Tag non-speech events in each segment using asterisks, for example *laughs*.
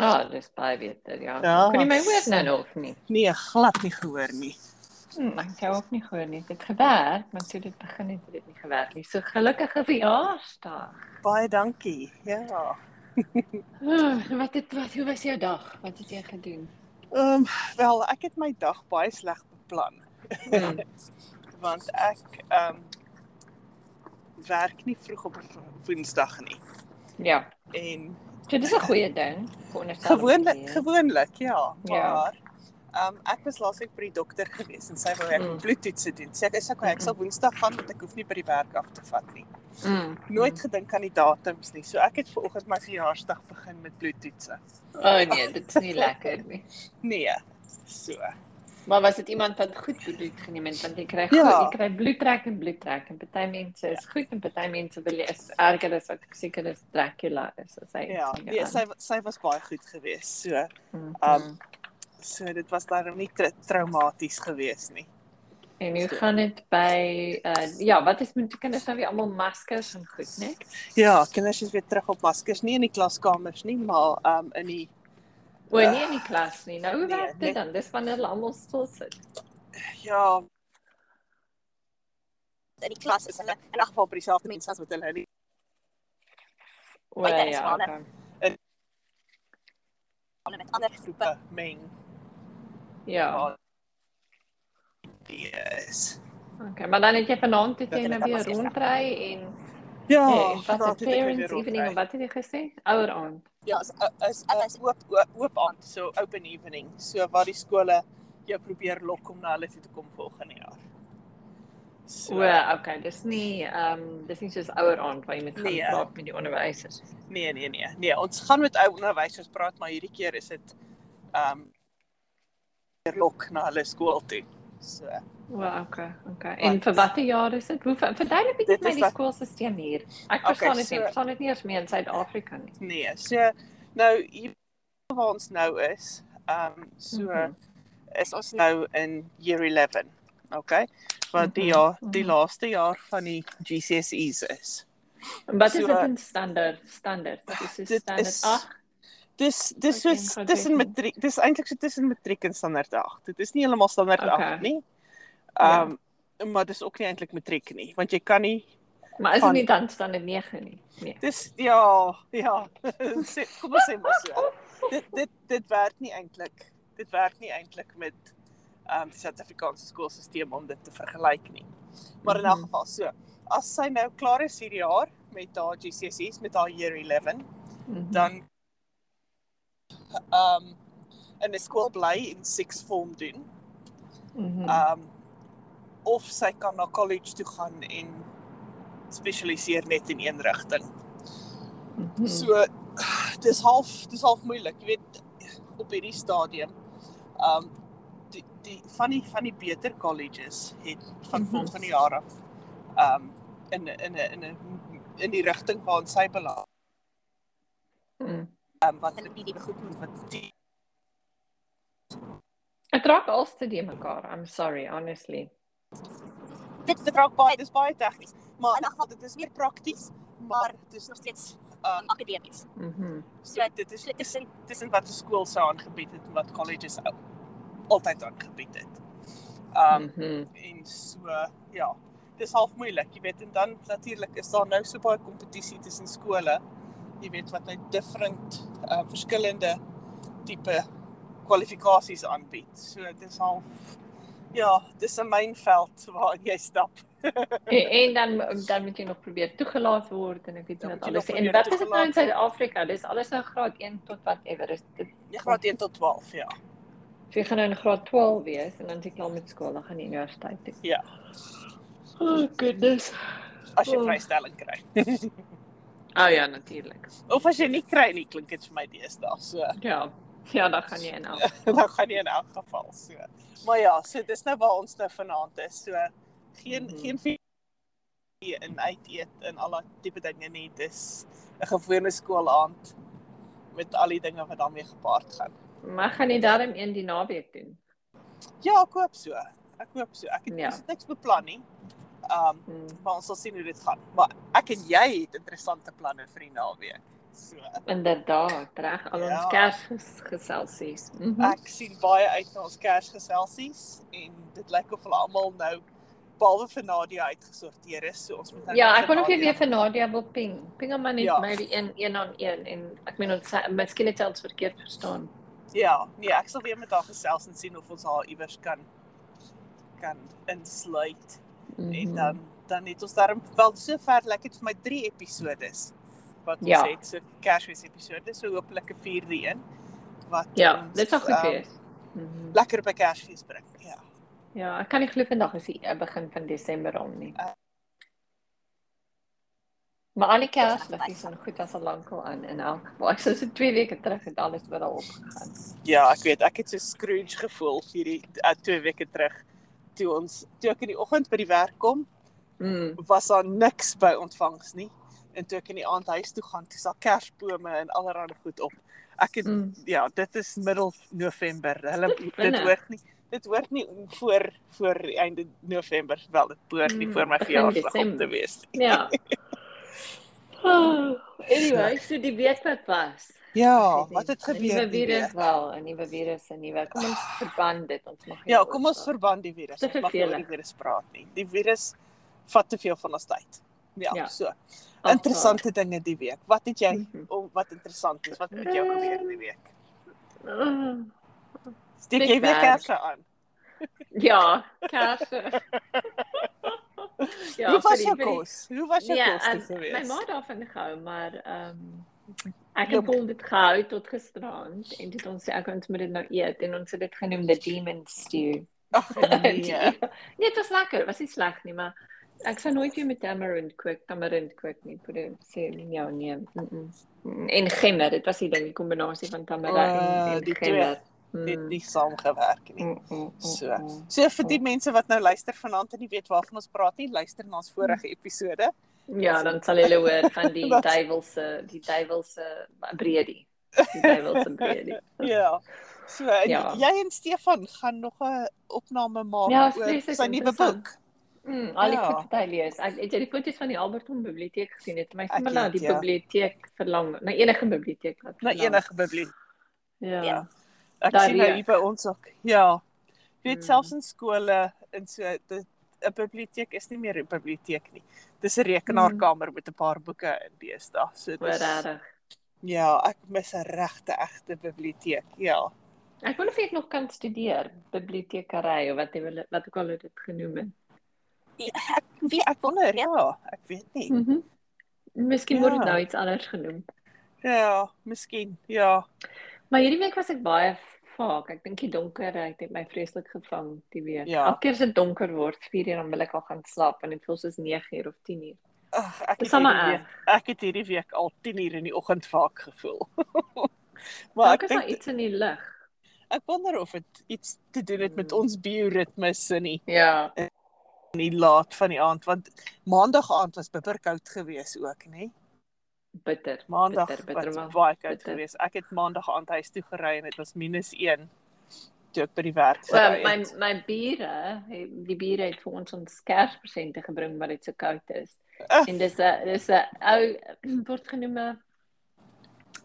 Ah, oh, dis baie beter, ja. Ja, Kon jy my want- hoor nou nog nie? Nee, glad nie gehoor nie. Mm, Hm, ek het jou ook nie gehoor nie. Dit het gewerk, maar toe dit begin het, het dit nie gewerk nie. So gelukkige verjaarsdag. Baie dankie. Ja. Ah, Oh, wat het wat hoe was jou dag? Wat het jy gedoen? Ehm um, wel, ek het my dag baie sleg beplan Hmm. *laughs* want ek ehm um, werk nie vroeg op 'n wo- Woensdag nie. Ja. En So dis 'n goeie ding. veronderstel om te gewoonlik wees. gewoonlik ja, Ja. maar ehm um, ek was laasweek by die dokter gewees en sy wou ek Mm. bloedtoetse doen. Sê ek is ek ek sal Woensdag gaan want ek hoef nie by die werk af te vat nie. Mm. Nooit gedink aan die datums nie. So ek het ver oggend my verjaarsdag begin met bloedtoetse. O oh, nee, dit is nie lekker nie. Nee. So. Maar was dit iemand wat goed bloed geneem het want jy kry Ja. ja. jy kry bloedtrek en bloedtrek en party mense is goed en party mense wil jy is erger as wat ek seker is Dracula is as hy. Ja, iets nee, aan- sy sy was baie goed geweest. So, Mm. um so dit was daarom nie tra traumaties geweest nie. En hoe gaan dit by uh ja, wat is met die kinders nou weer almal maskers en goed, né? Ja, kinders is weer terug op maskers, nie in die klaskamers nie, maar um in die O nee, in die klas nie. Nou hoe Ja. Nee, werk nee. dit dan? Dis wanneer hulle almal stil sit. ja, in die klas is hulle in elk geval by dieselfde mense as wat hulle in die O Maar dit is ja. waar, Okay. hulle met ander groepe. groepe meng. Ja. Ja. Yes. Okay, maar dan het jy vanaand het Dat jy hulle nou dan weer as eerste- rondry en Ja, eh, en wat 'n vandag het ek weer parents rondry. evening of wat het jy gesê? Ouer aand. Ja, is is is oop oop- oop aand, so open evening. So waar die skole jou probeer lok om na hulle toe te kom volgende jaar. So, O, okay, dis nie ehm um, dis nie soos ouer aand waar jy met gaan Nee. praat met die onderwysers. Nee, nee, nee. Nee, ons gaan met ou onderwysers praat, maar hierdie keer is dit ehm um, lok na hulle skool toe. So, O, okay, okay. En Want- vir watter jaar is dit? Hoe ver- verduidelik Dit dit my is die wat- skoolstelsel hier? Ek Okay, verstaan dit nie. so- Ek verstaan dit nie eens meer in Suid-Afrika nie. nee. So nou hier waar ons nou is, ehm um, so mm -hmm. Mhm. is ons nou in year 11. Okay? Wat die Mhm, jaar die mhm. laaste jaar van die GCSEs is. Wat is So- eh, dit in standaard? Standaard. Dit is so Dit standaard is- 8. Dis Wat dis so een tussen graduation. matriek, dis eintlik so tussen matriek en standaard 8. Dit is nie heeltemal standaard Okay. 8 okay. nie. Ja. Ehm um, ja. maar dis ook nie eintlik matriek nie, want jy kan nie Maar is dit van- nie dan standaard 9 nie? Nee. Dis ja, ja. *laughs* Sê- Kom ons sê maar so. Dit dit dit werk nie eintlik. Dit werk nie eintlik met ehm um, die Suid-Afrikaanse skoolstelsel om dit te vergelyk nie. Maar in elk Mhm. geval so. As sy nou klaar is hierdie jaar met haar GCSEs met haar year 11, Mhm. dan ehm um, in 'n skool bly en 6 vorm doen. Mhm. Ehm um, of sy kan na college toe gaan en spesialiseer net in een rigting. Mhm. Mm. So dis half dis half moeilik, jy weet op hierdie stadium. Um die die van die van die beter colleges het van Mhm. volgende jaar af um in 'n- in 'n- in 'n in die rigting waar ons sy beland. Mm. Um wat Hulle moet nie die goed doen. wat die Ek raak alste die mekaar. I'm sorry, honestly. Dit dit raak baie dis baie tegnies, maar in In elk elk geval dit is meer prakties, maar dit is nog steeds um beteken akademies. Mhm. So dit is so tussen tussen wat die skool sou aangebied het en wat colleges al- altyd aangebied het. Um Mhm. en so ja, dis half moeilik, jy weet en dan natuurlik is daar nou so baie kompetisie tussen skole. Jy weet wat nou different uh, verskillende tipe kwalifikasies aanbied. So dit is half ja, dis 'n mynveld waarin jy stap. En, en dan dan moet jy nog probeer toegelaat word en ek weet Dan nie wat moet jy nog alles nie. en probeer wat is dit nou in toegelaat word. Suid-Afrika? Dis alles nou graad 1 tot whatever. Is dit Jy graad 1 tot 12, ja. so jy gaan nou in graad 12 wees en dan seker al met skool, dan gaan jy universiteit toe. Ja. Oh goodness. As jy Oh. vrystelling kry. Oh ja, natuurlik. Of as jy nie kry nie, klink dit vir my deesdae. So Ja. Ja, dan gaan jy in *laughs* af. dan gaan jy in elk geval so. Maar ja, so dis nou waar ons nou vanaand is. So geen mm Mhm. -hmm. geen vie- in uit eet en al daai tipe dinge nie. Dis 'n gewone skoolaand met al die dinge wat daarmee gepaard gaan. Maar gaan jy darm een die naweek doen? Ja, ek hoop so. Ek hoop so. Ek het Ja. ja. niks beplan nie. Um Hmm. maar ons sal sien hoe dit gaan. Maar ek en jy het interessante planne vir die naweek. So Inderdaad, reg al ons Ja. kersgeselsies. Mhm. ek sien baie uit na ons Kersgeselsies en dit lyk of hulle almal nou behalwe vir Nadia uitgesorteer is. So ons moet nou Ja, net ek vir kon of jy Nadia- weer vir Nadia wil ping. Ping hom maar net Ja. ja. maybe een een aan een en ek meen ons miskien het sy ons verkeerd verstaan. Ja, nee, ek sal weer met haar gesels en sien of ons haar iewers kan kan insluit Mm mm. en dan dan het ons daarom wel sover lekker vir my 3 episodes wat ons ja. Ja. het so Kersfees episode, so hopelik 'n 4de een wat Ja, ons, dit sal goed ehm, wees. Mhm. Lekker by Kersfees bring. Ja. Ja, ek kan nie glo vandag is die eh, begin van Desember al nie. Eh. Maar al die kersliggies en goed was al lankal aan in elk *laughs* geval. Ek sou so 2 weke terug het alles weer al opgegaan. Ja, ek weet, ek het so Scrooge gevoel hierdie uh, twee weke terug toe ons toe ek in die oggend by die werk kom, Mm. was daar niks by ontvangs nie. En toe ek in die aand huis toe gaan, toe is daar kersbome en allerlei goed op. Ek het mm. mm. ja, dit is middel November. Hulle dit vinnig. hoort nie dit hoort nie voor voor die einde November wel dit behoort nie Mm, voor my begin verjaarsdag op te Desember. wees. nie. Ja. Oh, *sighs* anyway, so die week wat was. Ja, wat het gebeur? Nuwe die virus week? wel, 'n nuwe virus, 'n nuwe. Kom *sighs* ons verband dit, ons mag nie Ja, oor kom ons praat. verband die virus. Te Ons mag nie oor die vervelig. virus praat nie. Die virus vat te veel van ons tyd. Ja, ja. Ja. so. Afraai. Interessante dinge die week. Wat het jy Mhm. om wat interessant is? Wat het met jou gebeur die week? *laughs* Ah, Steek Net jy weer werk. kersse aan? *laughs* Ja, *laughs* kaarse. Ja, Hoe vir was die- vir jou die- kos? Hoe was jou Nee, kos ehm, die gewees? my ma het daarvan gehou, maar ehm ek Ja, het hom dit gehou tot gisteraand en dit ons sê ek ons moet dit nou eet en ons het dit genoem the demon stew. *laughs* Ag, *laughs* Die- nee. nee, dit was lekker, was nie sleg nie, maar ek sou nooit weer met tamarind kook, tamarind kook nie, vir die- sê ja nee. Mm -mm. En gemmer, dit was die ding, die kombinasie van tamarind Ah, uh, en Mm. die twee. gemmer. Dit nie saamgewerk nie. Mm, mm, mm, So. mm. So vir die mense wat nou luister vanaand en nie weet waarvan ons praat nie, luister na ons Mm. vorige episode. Ja, dan sal hulle hoor van *laughs* die Dat- duiwelse, die duiwelse breedie. *laughs* Die duiwelse breedie. Ja. So en ja. Ja. jy en Stefan gaan nog 'n opname maak Ja, oor vrees is sy nuwe interessant. boek. Mm, al die Ja. goed wat hy lees. Ek het jy die foto's van die Alberton biblioteek gesien het. My Ek sommer na het, die ja. biblioteek verlang, na enige biblioteek wat. Na enige biblioteek. Ja. Ja. ja. Ek Daar sien nou weer. hier by ons ook. Ja. Jy weet Mm. selfs in skole en so dit 'n biblioteek is nie meer 'n biblioteek nie. Dis 'n Mm. rekenaarkamer met 'n paar boeke in deesdae. So Oor dis regtig. Ja, ek mis 'n regte egte biblioteek. Ja. Ek wonder of ek nog kan studeer bibliotekery of wat jy wil wat ook al hulle dit genoem het. Wie Ek wonder, ja, ek weet nie. Mhm. Mm Miskien word dit Ja. nou iets anders genoem. Ja, miskien. Ja. Maar hierdie week was ek baie vaak. Ek dink die donkerheid het my vreeslik gevang die week. Ja. Elke keer as dit donker word, 4 uur dan wil ek al gaan slaap en dit voel soos 9 uur of 10 uur. Ag, ek Dis het sommer hierdie erg. week, ek het hierdie week al 10:00 in die oggend vaak gevoel. *laughs* maar Dalk ek is daar dink iets in die lug. ek wonder of dit iets te doen het met Mm. ons bioritmes en die Ja. in die laat van die aand want maandag aand was bitterkoud geweest ook nê. Bitter. Maandag Bitter, bitter was wel, baie koud bitter. geweest. Ek het maandag aand huis toe gery en dit was -1 toe ek by die werk *laughs* Well, gery my het. my biere, eh, die biere het vir ons ons kerspresente gebring wat dit so koud is. Ah. En dus, dis 'n dis 'n eh, ou *clears throat* word genoem 'n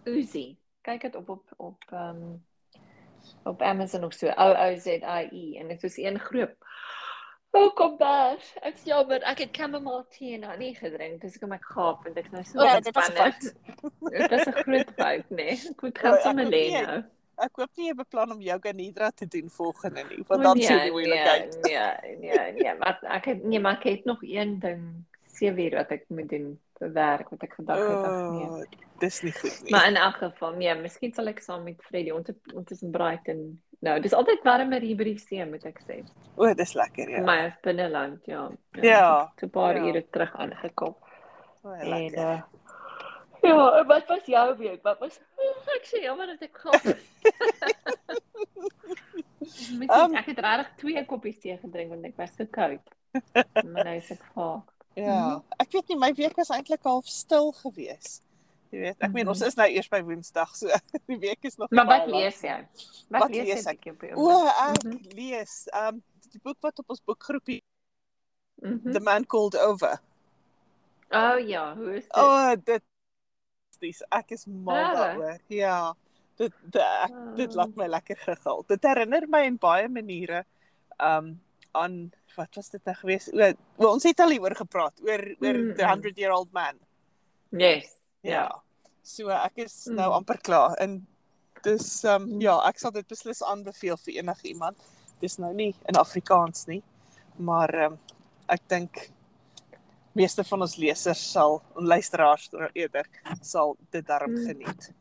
Uzi. Kyk dit op op op ehm um, op Amazon of so. O O Z I E en dit is een groep. Welkom daar. Ek is jammer, ek het chamomile tee en honey gedrink, dis hoekom ek gaap en ek is nou so O, ja, dit was 'n ontspanne. Dit was 'n groot fout, né? Nee. Ek moet O, gaan ek sommer ook lê nie. nou. Ek hoop nie jy beplan om yoga nidra te doen volgende nie O, want dan nee, sien jy moeilikheid. Nee, nee, nee, nee, maar ek het nee, maar ek het nog een ding seweer wat ek moet doen vir werk wat ek gedag het ag nee. O, Dis nie goed nie. Maar in elk geval, nee, miskien sal ek saam met Freddy ons het- ons is in Brighton. Nou, dis altyd warmer hier by die see moet ek sê. O, dis lekker Vir ja. my is binneland, ja. Ja, So 'n paar ja. ure terug aangekop. O, En lekker. uh, ja, en wat was jou week? Wat was oh, ek sê jammer dat ek gaan. *laughs* Ehm. Miskien ek het regtig twee koppies tee gedrink want ek was so koud. maar nou is ek vaak. Ja, mhm. ek weet nie my week was eintlik half stil gewees. Jy weet, ek meen ons Mhm. is nou eers by Woensdag, so *laughs* die week is nog Maar baie wat lank. lees jy? Wat, Wat wat lees, lees lees ek? ek? Op die O, oomblik? ek Mhm. lees um die boek wat op ons boekgroepie Mhm. The Man Called Over. Oh, O ja, hoe is dit? O, oh, dit fantasties. Ek is mal Regtig? daaroor. Ja. Dit dit, ek Ah. dit laat my lekker gegil. Dit herinner my in baie maniere um aan wat was dit nou gewees? O, o, ons het al hieroor gepraat oor oor Mm, the mm. 100 year old man. Yes. Ja. So ek is nou Mm. amper klaar en dis um ja, ek sal dit beslis aanbeveel vir enige iemand. Dis nou nie in Afrikaans nie, maar um ek dink meeste van ons lesers sal en luisteraars eerder sal dit daarom Mm. geniet.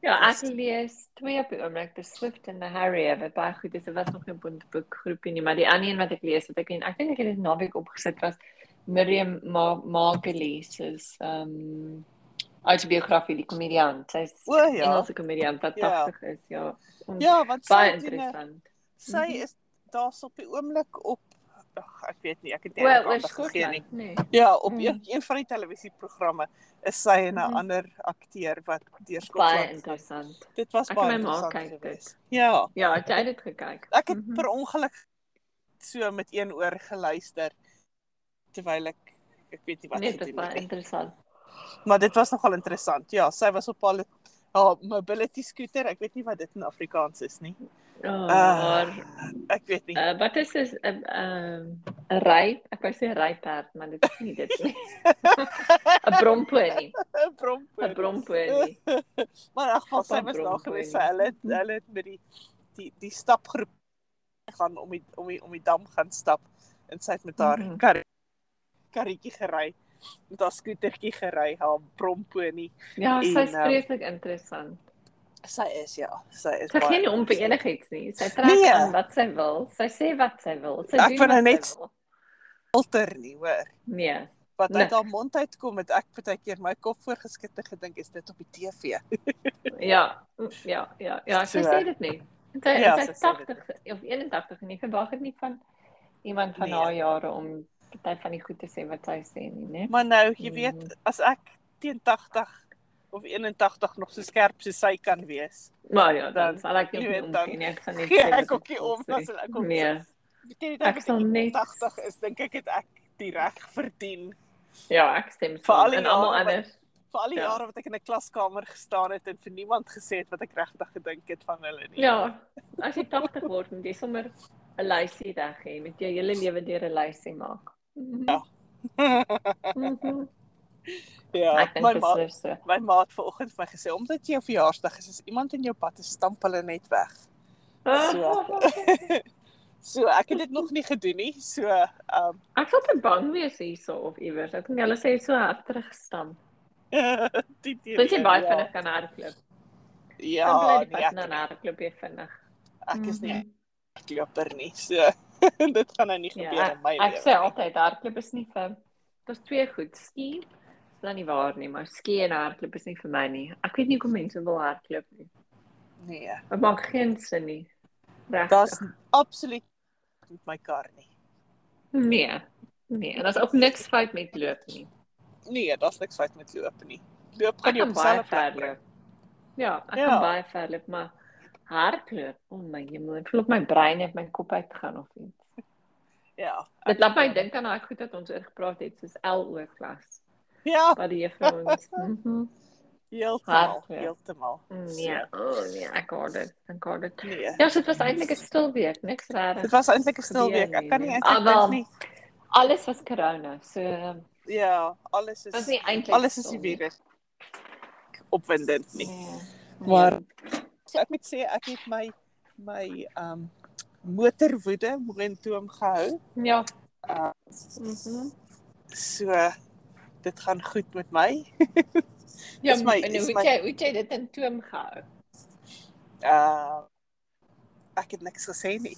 Ja, ek lees twee op die oomblik, The Swift and the Harrier wat baie goed is. Dit was nog nie op 'n boekgroepie nie, maar die ander een wat ek lees wat ek en ek dink ek het dit naweek opgesit was Miriam Ma Margolyes se ehm um, autobiografie die komediant. Sy's O, ja. Engelse komediant wat Ja. 80 is, ja. On, Ja, want sy baie doen 'n- interessant. Sy Mhm. is daar's op die oomblik op ag ek weet nie, ek het nie Wel, eintlik oor aandag gegee nie. Skotland, nee. Ja, op Mm. mm. een, een van die televisieprogramme is sy en 'n Mhm. ander akteur wat Baie deur Skotland gaan. interessant. Dit was Ek en baie my ma interessant kyk geweest. Ja, Ja, het jy dit gekyk? ek het mm Mhm. -hmm. per ongeluk so met een oor geluister terwyl ek ek weet nie wat Nee, gedoen dit het was nie. interessant. Maar dit was nogal interessant. Ja, sy was op haar haar mobility scooter. Ek weet nie wat dit in Afrikaans is nie. Ja, Ah. maar Ek weet nie. Uh, wat is 'n ehm ehm, 'n ry? Ek wou sê 'n ryperd, maar dit is nie dit nie. 'n Bromponie, 'n Brompoot. 'n bromponie. maar in elk geval sy Papa was daar Bronco gewees. en- so Hulle *laughs* het, hulle het met die die die stapgroep gaan om die om die om die dam gaan stap en sy het met haar Mhm. kar karretjie gery met haar skootertjie gery haar bromponie. Ja, En, sy's ehm, vreeslik interessant. Sy is ja, sy is Sy gee nie om vir interessant. enigiets nie. Sy trek nee. Nee. aan wat sy wil. Sy sê wat sy wil. Sy Ek doen vind wat haar sy net- wil. filter nie, hoor. Nee. Wat Nee. uit haar mond uitkom het ek baie keer my kop voorgeskit en gedink is dit op die TV. Ja. Ja, ja, ja, sy So, sê dit nie. En Sy ja, ja, sy sy's sê dit 80 of 81 en ek verwag dit nie van iemand van Nee. haar jare om party van die goed te sê wat sy sê nie, né? Maar nou, jy Mm. weet, as ek teen 80 of 81 nog so skerp soos sy kan wees. Maar ja, Dan- dan sal ek jy nie weet, om dan nie. Ek gaan *laughs* net gee sê ek wat ook nie wil om, sê. dan sal ek ook- Nee, Beteken ek sal net 80 is dink ek het ek die reg verdien. ja, ek stem Vir al saam die en almal jare wat- anders. Vir al die Ja. ja. jare wat ek in 'n klaskamer gestaan het en vir niemand gesê het wat ek regtig gedink het van hulle nie. Ja, as jy 80 word, moet jy sommer 'n lysie reg hê, met jou hele lewe deur 'n lysie maak. Ja. *laughs* ja Ek dink my dit ma is so. my ma het vanoggend vir my gesê omdat jy jou verjaarsdag is, as iemand in jou pad is, stamp hulle net weg. So. So ek het dit nog nie gedoen nie. So *laughs* ehm um, Ek sal te bang wees hierso of iewers. Ek dink hulle sê so hard teruggestamp. die die. Dit is baie vinnig kan hardloop. Dan bly Ja, die nee, pad na ek, hardloop jy vinnig. ek is nie 'n Mhm. hardloper nie. So *laughs* dit gaan nou nie gebeur Ja, in my ek lewe sê nie. altyd hardloop is nie vir daar's twee goed, ski is dan nie waar nie, maar ski en hardloop is nie vir my nie. Ek weet nie hoe mense wil hardloop nie. Nee. Dit maak geen sin nie. Reg. Daar's absoluut met my kar nie. nee. Nee, en daar's ook niks fout met loop nie. Nee, daar's niks fout met loop nie. Loop Ek gaan jou kan op baie dieselfde plek ver bring. loop. Ja, ek Ja. kan baie ver loop, maar hardloop, o oh my hemel, ek voel op my brein het my kop uitgegaan of iets. Ja. Dit laat my dink aan daai goed wat ons oor gepraat het, soos LO klas. Ja, Wat die juffrou *laughs* ons. Mhm. heeltemal, Hardloop. heeltemal. Nee, o oh, nee, ek hoor dit. Ek hoor dit. So, Nee. Ja, so dit was eintlik 'n stil week, niks Dit regtig. was eintlik 'n stil week. Ek nee. kan nie eintlik dink nie. Ah, Alles was corona, so ehm, Ja, alles dit was is nie eintlik alles is stil nie weer opwindend nie. Nee. Maar so ek moet sê ek het my my um motorwoede momentum gehou. ja. Uh, Mhm. So dit gaan goed met my. Ja, is en my- hoe is het my- jy hoe het jy dit in toom gehou? Uh ek het niks gesê nie.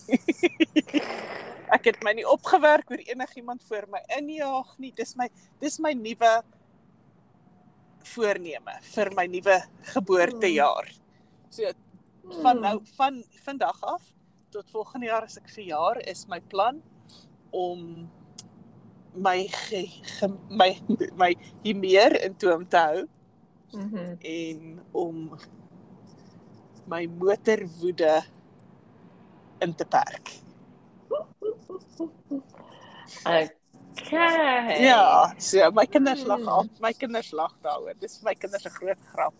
*laughs* ek het my nie opgewerk oor enigiemand voor my injaag nie. Dis my dis my nuwe voorneme vir my nuwe geboortejaar. So Mm, Hmm. van nou van vandag af tot volgende jaar as ek verjaar is my plan om my ge, ge, my my hier meer in toom te hou Mhm. en om my motorwoede in te perk. OK. Okay. Ja, so my kinders lag Mm. al, my kinders lag daaroor. Dis vir my kinders 'n groot grap.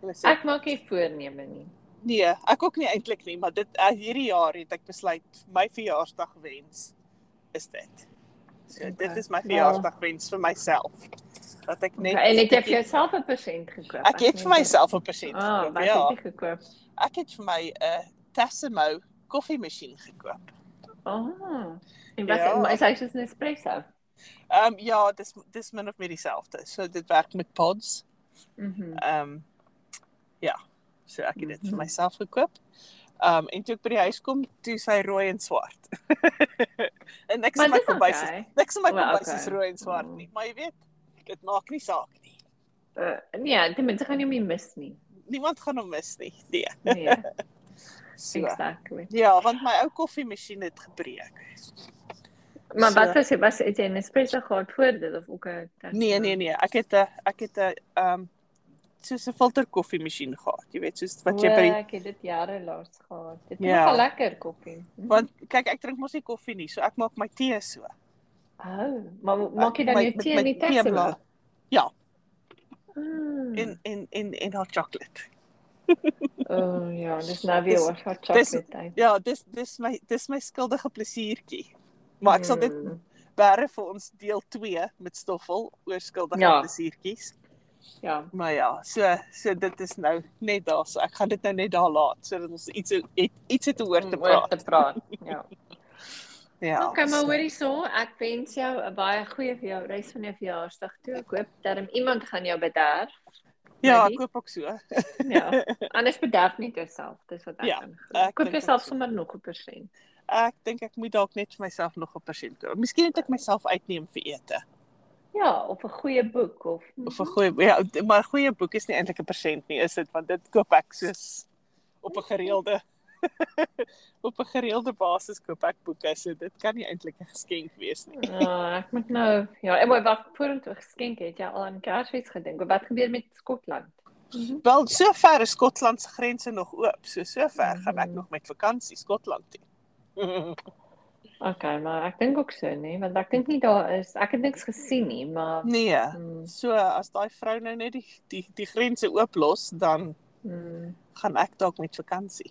Hulle sê Ek maak nie voorneme nie. nee, ek ook nie eintlik nie, maar dit uh, hierdie jaar het ek besluit my verjaarsdag wens is dit. So okay. dit Okay. is my Wel. verjaarsdag wens vir myself. Dat ek net Net, Ja. en het jy vir jouself 'n persent gekoop? Ek het vir myself 'n persent Ah, gekoop. wat Ja, het jy gekoop? ek het vir my 'n uh, Tassimo koffiemasjien gekoop. Ah. En wat Ja. ja. is hy soos 'n espresso? Ehm um, ja, dis dis min of meer dieselfde. So dit werk met pods. Mhm. Ehm um, ja. So ek het dit vir myself gekoop. Ehm um, en toe ek by die huis kom, toe sy rooi en swart. *laughs* en niks Maar in my dis kombuis is okay. niks in my Wel, kombuis okay. is rooi en swart nie, maar jy weet, dit maak nie saak nie. Uh, nee, die mense gaan nie meer mis *laughs* nie. Niemand gaan hom mis nie. Nee. Nee, So. exactly. Ja, want my ou koffiemasjien het gebreek. Maar So. wat was dit? Was het jy 'n espresso gehad voor dit of ook 'n Nee, nee, nee, ek het 'n ek het 'n ehm um, soos 'n filter koffiemasjien gehad, jy weet, soos wat jy by die Wel, ek het dit jare laas gehad. Dit Ja. ja. was lekker koffie. Mhm. Want kyk, ek drink mos nie koffie nie, so ek maak my tee so. oh, maar maak jy dan My- jou met tee my in die Tesla? teeblaar. Ja, Mm. en en en en haar chocolate. Oh ja, dis nou weer Dis- oor wat dis- chocolate tyd. Ja, dis dis my dis my skuldige plesiertjie. Maar ek sal Hmm. dit Mm, bære vir ons deel 2 met Stoffel oor skuldige ja. Ja. plesiertjies. ja. Maar ja, so so dit is nou net daar, so ek gaan dit nou net daar laat sodat ons iets het, iets het om oor te om oor praat. te praat. Ja. Ja. Okay, maar so- hoor hierso, ek wens jou 'n baie goeie vir jou reis van jou verjaarsdag toe. Ek hoop darm iemand gaan jou bederf. Ja, Maggie? ek koop ook so. Ja. *laughs* Anders bederf nie jouself, dis wat ek Ja, kan. ek Ja, Koop dink ook jouself so. sommer nog 'n persent. Ek dink ek moet dalk net vir myself nog 'n persent koop. Miskien moet ek myself uitneem vir ete. Ja, of 'n goeie boek of of 'n goeie ja, d- maar 'n goeie boek is nie eintlik 'n persent nie, is dit? Want dit koop ek soos op 'n gereelde *laughs* op 'n gereelde basis koop ek boeke, so dit kan nie eintlik 'n geskenk wees nie. *laughs* Ja, ek moet nou. Ja, en maar wat vorentoe geskenk het jy al aan Kersfees gedink? Wat gebeur met Skotland? Mm. Wel, sover is Skotland se grense nog oop, so sover gaan ek Mhm. nog met vakansie Skotland *laughs* toe. Okay, maar ek dink ook so, nê, want ek dink nie daar is ek het niks gesien nie, maar nee. mm, So as daai vrou nou net die die, die grense oop los, dan mm, gaan ek dalk met vakansie.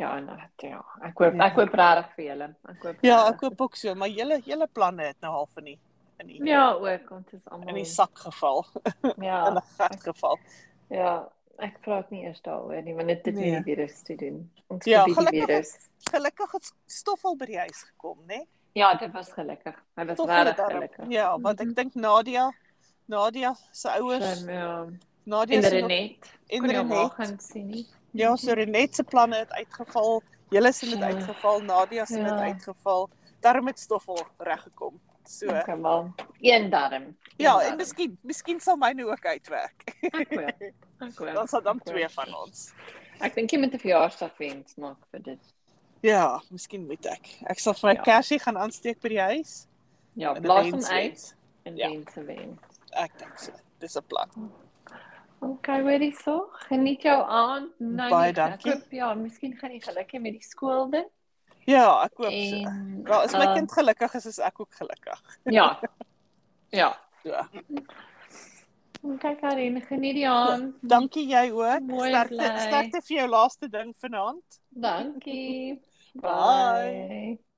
ja, nou, ja. Ek hoop Ja. ek hoop regtig vir julle. Ek hoop Ja, ek regtig. koop ook so, maar julle julle planne het nou half in die in die Ja, ook ons is in almal die sak geval. in Ja, 'n gat geval. ja, ek praat nie eers daaroor nie, want dit het Nee. nie die virus te doen. Ons Ja, ja, die gelukkig- virus. Gelukkig het Stoffel by die huis gekom, né? Nee? Ja, dit was gelukkig. Hy was Stoffel het regtig daarom- gelukkig. Ja, want ek Mhm. dink Nadia Nadia se ouers, Slim, Ja, Nadia en se nog- Renet. en Kon jy hom al Renet. gaan sien nie? Ja, so Renet se planne het uitgeval. Julle se het Ja. uitgeval, Nadia se het Ja. uitgeval. Daarom het Stoffel reggekom. So Okay, maar een darm. Een ja, darm. en miskien miskien sal myne ook uitwerk. *laughs* ek hoop. Ek hoop. Dan sal dan ek hoop. twee van ons. Ek dink jy moet 'n verjaarsdag wens maak vir dit. Ja, miskien moet ek. Ek sal vir my ja. Ja. kersie gaan aansteek by die huis. Ja, en 'n blaas hom wens uit wens. en Ja. wens se wens. Ek dink so. Dis 'n plan. Okay, hoorie so. Geniet jou aand. Nou, Baie nie, ek dankie. Hoop, ja, miskien gaan jy geluk hê met die skool ding. Ja, ek hoop so. En Wel, as my uh, kind gelukkig is, is ek ook gelukkig. *laughs* Ja. Ja. So, Okay, Karin, geniet die aand. *laughs* dankie jy ook. Mm. Mooi Sterkte bly. sterkte vir jou laaste ding vanaand. Dankie. Bye. Bye.